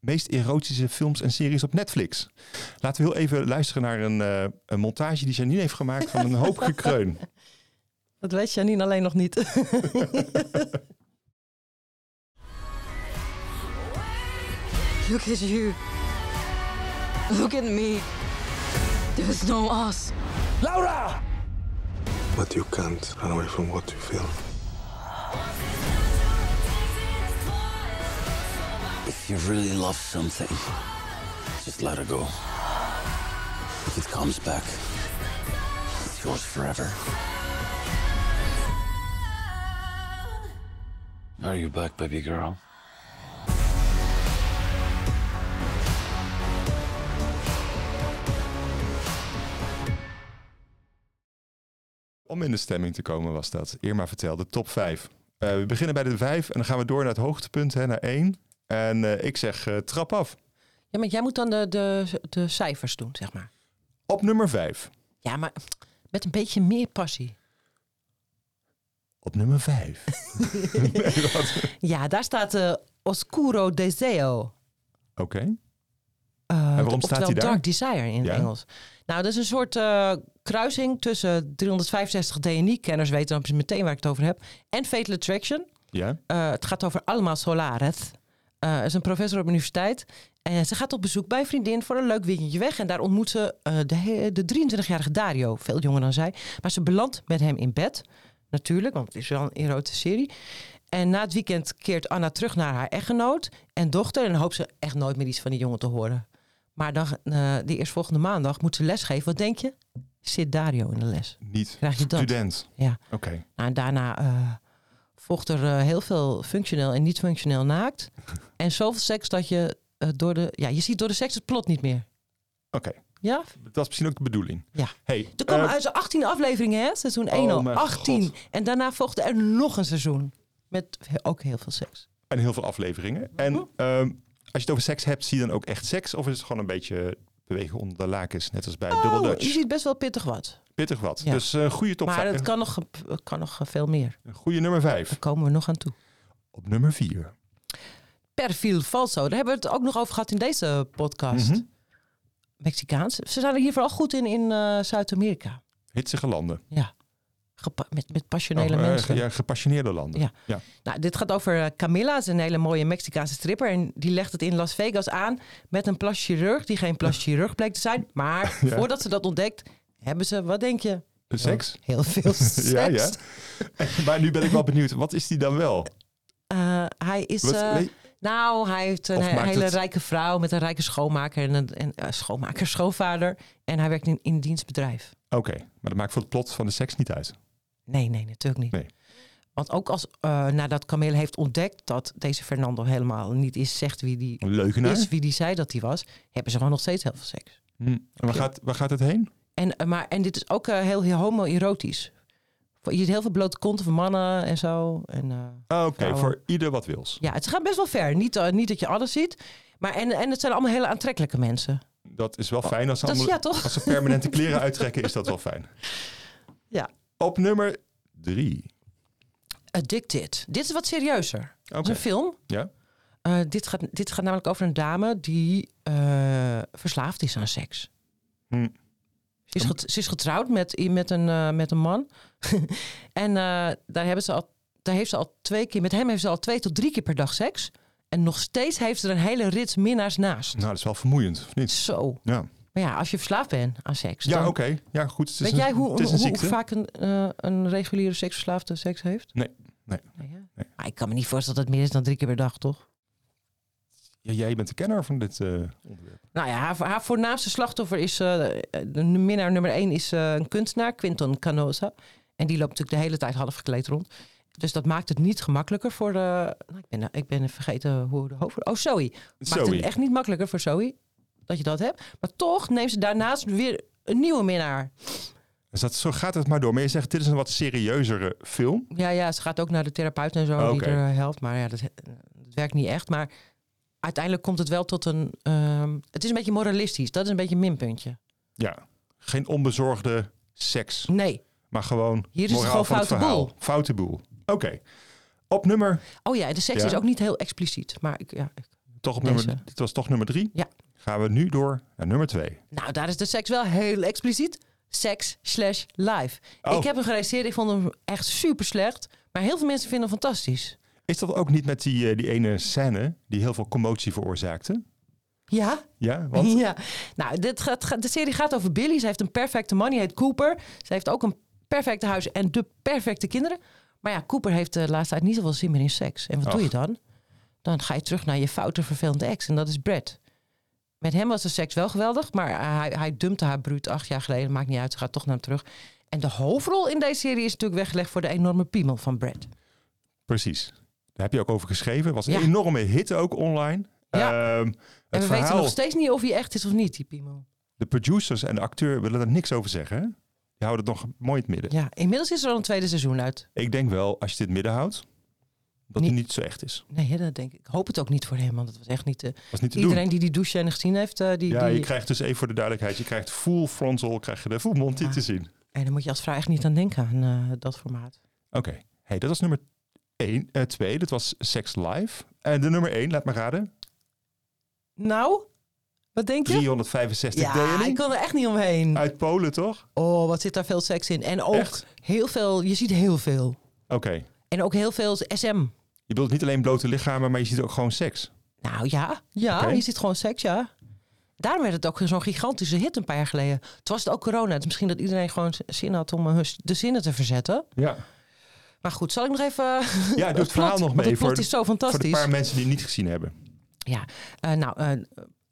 meest erotische films en series op Netflix. Laten we heel even luisteren naar een, eh, een montage die Janine heeft gemaakt van een hoop gekreun. Dat weet Janine alleen nog niet. Look at you. Look at me. There's no us. Laura! But you can't run away from what you feel. If you really love something, just let it go. If it comes back, it's yours forever. Are you back, baby girl? Om in de stemming te komen was dat. Irma vertelde top 5. Eh, we beginnen bij de 5 en dan gaan we door naar het hoogtepunt, hè, naar 1. En eh, ik zeg eh, trap af. Ja, maar jij moet dan de, de, de cijfers doen, zeg maar. Op nummer 5. Ja, maar met een beetje meer passie. Op nummer 5. Ja, daar staat eh, Oscuro Deseo. Oké. Eh, waarom staat oftewel die daar? Dark Desire in Ja. het Engels. Nou, dat is een soort eh, kruising tussen 365 DNI-kenners weten dan precies meteen waar ik het over heb. En Fatal Attraction. Ja. Eh, het gaat over Alma Solares. Eh is een professor op de universiteit. En ze gaat op bezoek bij een vriendin voor een leuk weekendje weg. En daar ontmoet ze eh, de, he- de 23-jarige Dario, veel jonger dan zij. Maar ze belandt met hem in bed. Natuurlijk, want het is wel een erotische serie. En na het weekend keert Anna terug naar haar echtgenoot en dochter. En dan hoopt ze echt nooit meer iets van die jongen te horen. Maar dan, eh de eerstvolgende maandag moet ze lesgeven. Wat denk je? Zit Dario in de les? Niet. Krijg je dat? Student. Ja. Oké. Nou, en daarna eh, vocht er eh, heel veel functioneel en niet-functioneel naakt. En zoveel seks dat je eh, door de... Ja, je ziet door de seks het plot niet meer. Oké. Ja? Dat is misschien ook de bedoeling. Ja. Hey, Er kwamen eh, uit zijn 18 afleveringen, hè? Seizoen 1 Oh, al. mijn 18. En daarna volgde er nog een seizoen. Met he- ook heel veel seks. En heel veel afleveringen. En Oh. ehm, als je het over seks hebt, zie je dan ook echt seks? Of is het gewoon een beetje bewegen onder de lakens, net als bij Double Oh, Dutch? je ziet best wel pittig wat. Pittig wat. Ja. Dus eh goede top maar vijf. het kan nog, eh, kan nog eh, veel meer. Goede nummer 5. Daar komen we nog aan toe. Op nummer 4. Perfil Falso. Daar hebben we het ook nog over gehad in deze podcast. Mhm. Mexicaans. Ze zijn er hier vooral goed in in eh, Zuid-Amerika. Hitsige landen. Ja. Gepa- met, met passionele Oh, eh, mensen. ja, gepassioneerde landen. Ja. ja. Nou, dit gaat over eh, Camilla, ze is een hele mooie Mexicaanse stripper. En die legt het in Las Vegas aan met een plaschirurg die geen plaschirurg bleek te zijn. Maar Ja. voordat ze dat ontdekt, hebben ze, wat denk je? Seks? Heel veel ja, seks. ja. maar nu ben ik wel benieuwd, wat is die dan wel? Eh, hij is. Wat- eh, weet- nou, hij heeft een Of he- maakt hele het- rijke vrouw met een rijke schoonmaker en een en, eh, schoonmaker, schoonvader. En hij werkt in, in een dienstbedrijf. Oké, maar dat maakt voor het plot van de seks niet uit. Nee, nee, natuurlijk niet. Nee. Want ook als, eh, nadat Camille heeft ontdekt dat deze Fernando helemaal niet is, zegt wie die Een leugenaar. is, wie die zei dat hij was, hebben ze gewoon nog steeds heel veel seks. Hm. En waar, Ja. gaat, waar gaat het heen? En, eh, maar, en dit is ook eh, heel, heel homoerotisch. Je ziet heel veel blote konten van mannen en zo. En, eh, Ah, Oké, vrouwen. voor ieder wat wils. Ja, het gaat best wel ver. Niet, eh, niet dat je alles ziet. Maar en, en het zijn allemaal hele aantrekkelijke mensen. Dat is wel fijn. Als ze, Oh, dat is- ja, allemaal- toch? als ze permanente kleren uittrekken, is dat wel fijn. Ja. Op nummer drie. Addicted. Dit is wat serieuzer. Het is Oké. een film. Ja? Eh, dit, gaat, dit gaat namelijk over een dame die eh, verslaafd is aan seks. Hm. Ze is, get- ze is getrouwd met, i- met, een, eh, met een man. en eh, daar hebben ze al daar heeft ze al twee keer, met hem heeft ze al twee tot drie keer per dag seks. En nog steeds heeft ze er een hele rits minnaars naast. Nou, dat is wel vermoeiend, of niet? Zo. Ja, Maar ja, als je verslaafd bent aan seks. ja dan- oké. Ja, goed. Het is Weet een- jij hoe, het is een hoe, hoe ziekte. vaak een, eh, een reguliere seksverslaafde seks heeft? Nou Nee. nee. Maar ik kan me niet voorstellen dat het meer is dan drie keer per dag, toch? Ja, jij bent de kenner van dit eh, onderwerp. Nou ja, haar, haar voornaamste slachtoffer is, eh, de minnaar nummer één is eh, een kunstenaar, Quinton Canosa. En die loopt natuurlijk de hele tijd half gekleed rond. Dus dat maakt het niet gemakkelijker voor, eh, nou, ik, ben, eh, ik ben vergeten hoe de hoofd... Oh, Zoe. Maakt Zoe. het echt niet makkelijker voor Zoe dat je dat hebt. Maar toch neemt ze daarnaast weer een nieuwe minnaar. Dus dat, zo gaat het maar door. Maar je zegt, dit is een wat serieuzere film. Ja, ja, ze gaat ook naar de therapeut en zo, die Oké. er eh, helpt. Maar ja, dat, dat werkt niet echt. Maar uiteindelijk komt het wel tot een... ehm, het is een beetje moralistisch. Dat is een beetje een minpuntje. Ja. Geen onbezorgde seks. Nee. Maar gewoon Hier is het moraal gewoon van foute verhaal. boel. Foute boel. Oké. Op nummer... Oh ja, en de seks Ja. is ook niet heel expliciet. Maar ik, ja, ik- Toch op Deze. nummer, dit was toch nummer drie? Ja. Gaan we nu door naar nummer twee. nou, daar is de seks wel heel expliciet. Seks slash live. Oh. Ik heb hem gerealiseerd. Ik vond hem echt super slecht. Maar heel veel mensen vinden hem fantastisch. Is dat ook niet met die, eh, die ene scène die heel veel commotie veroorzaakte? Ja? Ja, want Ja. Nou, dit gaat, gaat- de serie gaat over Billy. Ze heeft een perfecte man. Die heet Cooper. Ze heeft ook een perfecte huis en de perfecte kinderen. Maar ja, Cooper heeft de laatste tijd niet zoveel zin meer in seks. En wat doe je Ach. dan? Dan ga je terug naar je foute, vervelende ex. En dat is Brad. Met hem was de seks wel geweldig. Maar hij, hij dumpte haar bruut acht jaar geleden. Maakt niet uit. Ze gaat toch naar hem terug. En de hoofdrol in deze serie is natuurlijk weggelegd voor de enorme piemel van Brad. precies. Daar heb je ook over geschreven. Was een Ja. enorme hit ook online. Ja. het En we weten verhaal, nog steeds niet of hij echt is of niet, die piemel. de producers en de acteur willen daar niks over zeggen. hè? Die houden het nog mooi in het midden. Ja, inmiddels is er al een tweede seizoen uit. Ik denk wel, als je dit midden houdt, dat het niet zo echt is. Nee, hè, dat denk ik. Ik hoop het ook niet voor hem, want dat was echt niet... eh, Was niet te iedereen doen. die die douche en gezien heeft, eh, die, ja, die- je krijgt dus even voor de duidelijkheid, je krijgt full frontal, krijg je de full monty Ah. te zien. En dan moet je als vrouw echt niet aan denken aan eh, dat formaat. Oké, hey, dat was nummer 1. 2, dat was Sex Live. En de nummer 1, laat me raden, Nou, wat denk je? 365 ja, DNI. ik kon er echt niet omheen. Uit Polen, toch? Oh, wat zit daar veel seks in. En ook Echt? heel veel, je ziet heel veel. Oké, En ook heel veel SM. je bedoelt niet alleen blote lichamen, maar je ziet ook gewoon seks. Nou ja, ja, Oké. je ziet gewoon seks, ja. Daarom werd het ook zo'n gigantische hit een paar jaar geleden. Het was het ook corona, dus misschien dat iedereen gewoon z- zin had om eh, hun s- de zinnen te verzetten. Ja. Maar goed, zal ik nog even... Ja, doe het plot, verhaal nog want mee. het plot voor, de- is zo fantastisch. Voor de paar mensen die het niet gezien hebben. Ja, eh, nou, eh,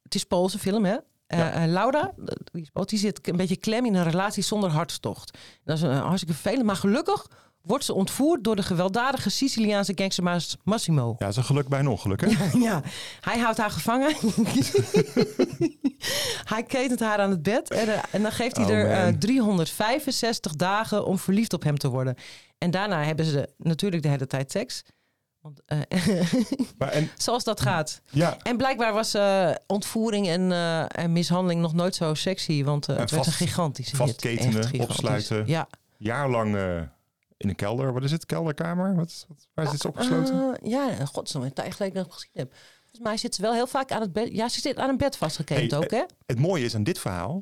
het is Poolse film, hè? Eh, eh, Laura, die, is Pools, die zit een beetje klem in een relatie zonder hartstocht. Dat is een, eh, hartstikke vervelend, maar gelukkig wordt ze ontvoerd door de gewelddadige Siciliaanse gangstermaas Massimo. Ja, dat is een geluk bij een ongeluk, hè? Ja, hij houdt haar gevangen. hij ketent haar aan het bed. En, eh, en dan geeft hij Oh, er eh, man. 365 dagen om verliefd op hem te worden. En daarna hebben ze natuurlijk de hele tijd seks. Want, eh, Zoals dat gaat. Ja. En blijkbaar was eh, ontvoering en, eh, en mishandeling nog nooit zo sexy. Want eh, het werd een gigantische hit. vastketenen, Echt gigantisch. opsluiten. Ja. Jaarlang eh, in een kelder. Wat is het? Kelderkamer? Wat, wat- waar zit ze opgesloten? Eh, ja, godsnaam, een tijd geleden dat ik hem gezien heb. Volgens mij zit ze wel heel vaak aan het bed. Ja, ze zit aan een bed vastgeketend Hey, ook, hè? eh, Het mooie is aan dit verhaal.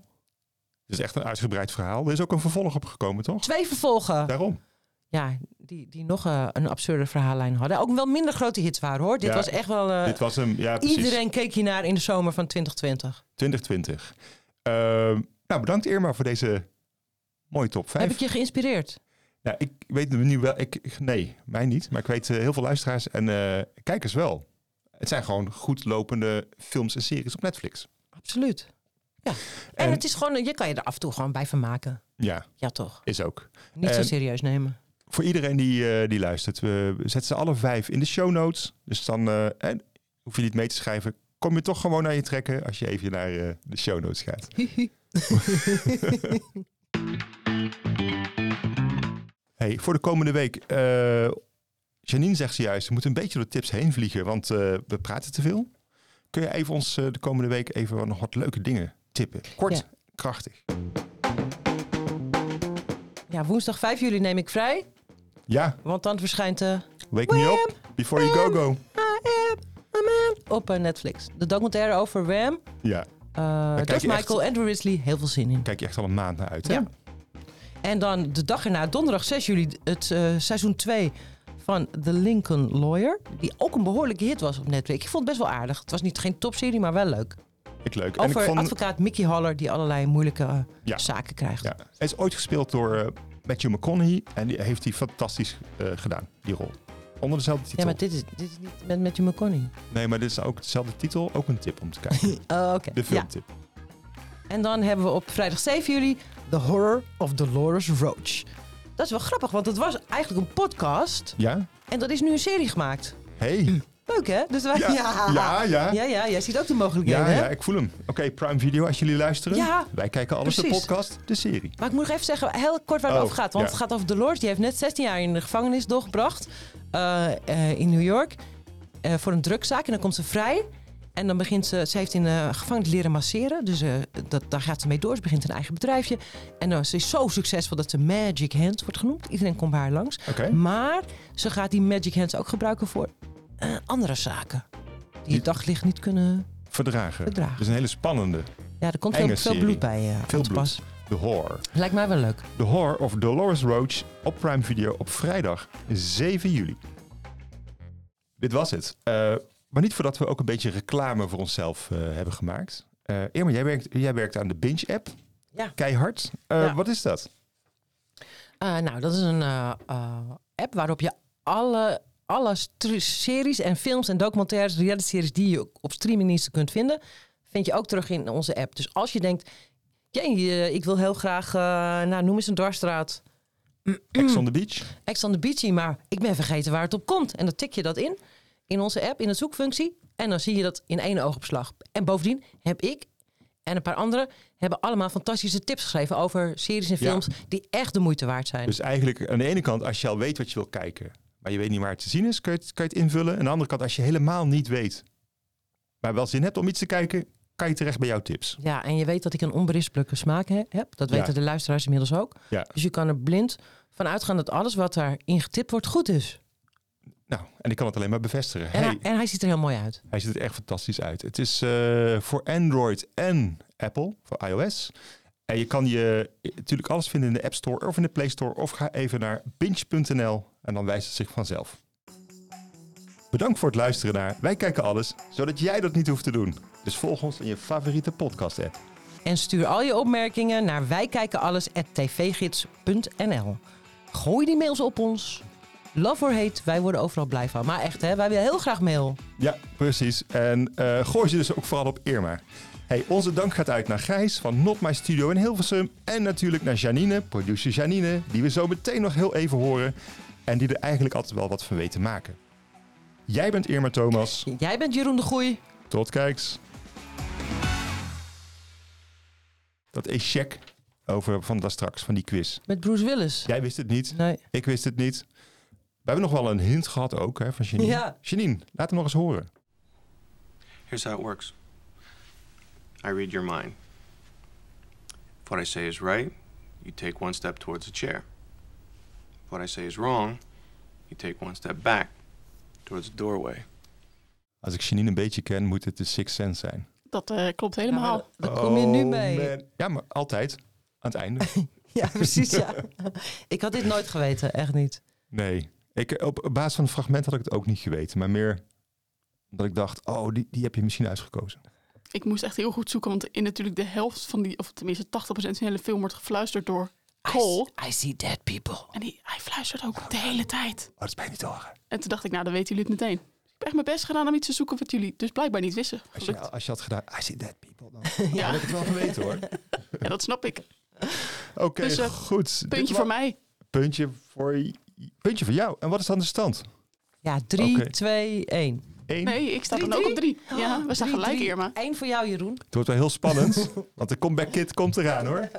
Het is echt een uitgebreid verhaal. Er is ook een vervolg opgekomen, toch? Twee vervolgen. Daarom. Ja, die, die nog eh, een absurde verhaallijn hadden. Ook wel minder grote hits waren, hoor. Dit Ja, was echt wel... eh, dit was hem. Ja, precies. Iedereen keek hiernaar in de zomer van 2020. 2020. Ehm, nou, bedankt Irma voor deze mooie top 5. Heb ik je geïnspireerd? Nou, ik weet nu wel... Ik, ik- nee, mij niet. Maar ik weet eh, heel veel luisteraars en eh, kijkers wel. Het zijn gewoon goed lopende films en series op Netflix. Absoluut. Ja. En, En- het is gewoon... eh, Je kan je er af en toe gewoon bij vermaken. Ja. Ja, toch. Is ook. Niet zo En- serieus nemen. Voor iedereen die, eh, die luistert, we zetten ze alle vijf in de show notes. Dus dan eh, en hoef je niet mee te schrijven. Kom je toch gewoon naar je trekken als je even naar eh, de show notes gaat. hey, voor de komende week. eh, Janine zegt zojuist, we moeten een beetje door de tips heen vliegen, want eh, we praten te veel. Kun je even ons eh, de komende week even wat- nog wat leuke dingen tippen? Kort, Ja. krachtig. Ja, woensdag 5 juli neem ik vrij. Ja, Want dan verschijnt eh, wake me up before you go go. op eh, Netflix. De documentaire over Wham. Ja. Eh kijk George je echt- Michael, Andrew Risley, heel veel zin in. Kijk je echt al een maand naar uit, hè? Ja. En dan de dag erna, donderdag 6 juli, het eh, seizoen 2 van The Lincoln Lawyer. Die ook een behoorlijke hit was op Netflix. Ik vond het best wel aardig. Het was niet, geen topserie, maar wel leuk. Ik leuk. Over en ik vond, advocaat Mickey Haller die allerlei moeilijke eh, Ja. zaken krijgt. ja. Hij is ooit gespeeld door eh, Matthew McConaughey. En die heeft hij fantastisch eh, gedaan, die rol. Onder dezelfde titel. Ja, maar dit is, dit is niet met Matthew McConaughey. Nee, maar dit is ook dezelfde titel. Ook een tip om te kijken. Oh, oké. De Ja. filmtip. En dan hebben we op vrijdag 7 juli The Horror of Dolores Roach. Dat is wel grappig, want het was eigenlijk een podcast. Ja? En dat is nu een serie gemaakt. Hey. Leuk, hè? Dus wij, Ja, ja, ja. ja, ja. Jij ziet ook de Ja, mogelijkheden, hè? ja, ik voel hem. Oké, Prime Video als jullie luisteren. Ja, Wij kijken alles de precies. podcast, de serie. Maar ik moet nog even zeggen, heel kort waar het Oh, over gaat. Want ja. het gaat over Dolores. Die heeft net 16 jaar in de gevangenis doorgebracht. eh, eh, in New York. eh, voor een drugszaak. En dan komt ze vrij. En dan begint ze... Ze heeft in de gevangenis leren masseren. Dus eh, dat, daar gaat ze mee door. Ze begint een eigen bedrijfje. En dan, ze is zo succesvol dat ze Magic Hands wordt genoemd. Iedereen komt bij haar langs. Oké. Maar ze gaat die Magic Hands ook gebruiken voor eh, andere zaken. Die het daglicht niet kunnen... Verdragen. Verdragen. Dat is een hele spannende. Ja, er komt veel- enge veel serie. bloed bij, eh, Veel aan te bloed. pas. De horror. Lijkt mij wel leuk. The Horror of Dolores Roach op Prime Video op vrijdag 7 juli. Dit was het. Eh, maar niet voordat we ook een beetje reclame voor onszelf eh, hebben gemaakt. Eh Irma, jij werkt, jij werkt aan de Binge-app. Ja. Keihard. Eh, Ja. Wat is dat? Eh, nou, dat is een eh, eh, app waarop je alle, alle stru- series en films en documentaires, realityseries die je op streamingdiensten kunt vinden, vind je ook terug in onze app. Dus als je denkt, jee, eh, ik wil heel graag, eh, nou noem eens een dwarsstraat, Mm. Ex on the Beach. Ex on the Beachy, maar ik ben vergeten waar het op komt. En dan tik je dat in, in onze app, in de zoekfunctie. En dan zie je dat in één oogopslag. En bovendien heb ik en een paar anderen hebben allemaal fantastische tips geschreven over series en Ja. films die echt de moeite waard zijn. Dus eigenlijk aan de ene kant, als je al weet wat je wil kijken, maar je weet niet waar het te zien is, kun je het, kun je het invullen. En aan de andere kant, als je helemaal niet weet, maar wel zin hebt om iets te kijken, kan je terecht bij jouw tips. Ja, en je weet dat ik een onberispelijke smaak he- heb. Dat Ja. weten de luisteraars inmiddels ook. Ja. Dus je kan er blind van uitgaan dat alles wat daarin getipt wordt goed is. Nou, en ik kan het alleen maar bevestigen. En, Hey, hij, en hij ziet er heel mooi uit. Hij ziet er echt fantastisch uit. Het is eh, voor Android en Apple, voor iOS. En je kan je eh, natuurlijk alles vinden in de App Store of in de Play Store. Of ga even naar binge.nl en dan wijst het zich vanzelf. Bedankt voor het luisteren naar Wij Kijken Alles, zodat jij dat niet hoeft te doen. Dus volg ons in je favoriete podcast app. En stuur al je opmerkingen naar wijkijkenalles.tvgids.nl Gooi die mails op ons. Love or hate, wij worden overal blij van. Maar echt, hè, wij willen heel graag mail. Ja, precies. En eh, gooi ze dus ook vooral op Irma. Hey, onze dank gaat uit naar Gijs van Not My Studio in Hilversum. En natuurlijk naar Janine, producer Janine, die we zo meteen nog heel even horen. En die er eigenlijk altijd wel wat van weet te maken. Jij bent Irma Thomas. Jij bent Jeroen de Goeie. Tot kijks. Dat is check over van dat straks, van die quiz. Met Bruce Willis. Jij wist het niet. Nee. Ik wist het niet. We hebben nog wel een hint gehad ook hè, van Janine. Ja. Janine, laat hem nog eens horen. Here's how it works I read your mind. If what I say is right, you take one step towards the chair. If what I say is wrong, you take one step back towards the doorway. Als ik Janine een beetje ken, moet het de Sixth Sense zijn. Dat eh, klopt helemaal. Daar kom je nu mee. Oh, man. Ja, maar altijd. Aan het einde. Ja, precies, ja. ik had dit nooit geweten, echt niet. nee. Ik, op op basis van het fragment had ik het ook niet geweten. Maar meer omdat ik dacht, oh, die, die heb je misschien uitgekozen. Ik moest echt heel goed zoeken, want in natuurlijk de helft van die, of tenminste 80% van de hele film wordt gefluisterd door Cole. I, see dead people. En die, hij fluistert ook de hele tijd. Oh, dat is mij niet te horen. En toen dacht ik, nou, dan weten jullie het meteen. Ik heb echt mijn best gedaan om iets te zoeken wat jullie dus blijkbaar niet wisten. Als je, Gelukt. als je had gedaan, I see dead people. Dan ja. had ik het wel geweten hoor. Ja, dat snap ik. Oké, Dus, eh, goed. Dit Puntje wa- voor mij. Puntje voor, j- puntje voor jou. En wat is dan de stand? Ja, 3, Oké. 2, 1. Eén. Nee, ik sta dan ook op drie. Ja, Ah, we staan gelijk, Irma. Eén voor jou, Jeroen. Het wordt wel heel spannend, want de comeback kid komt eraan hoor.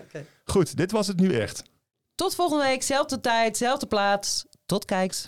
Goed, dit was het nu echt. Tot volgende week, zelfde tijd, zelfde plaats. Tot kijks.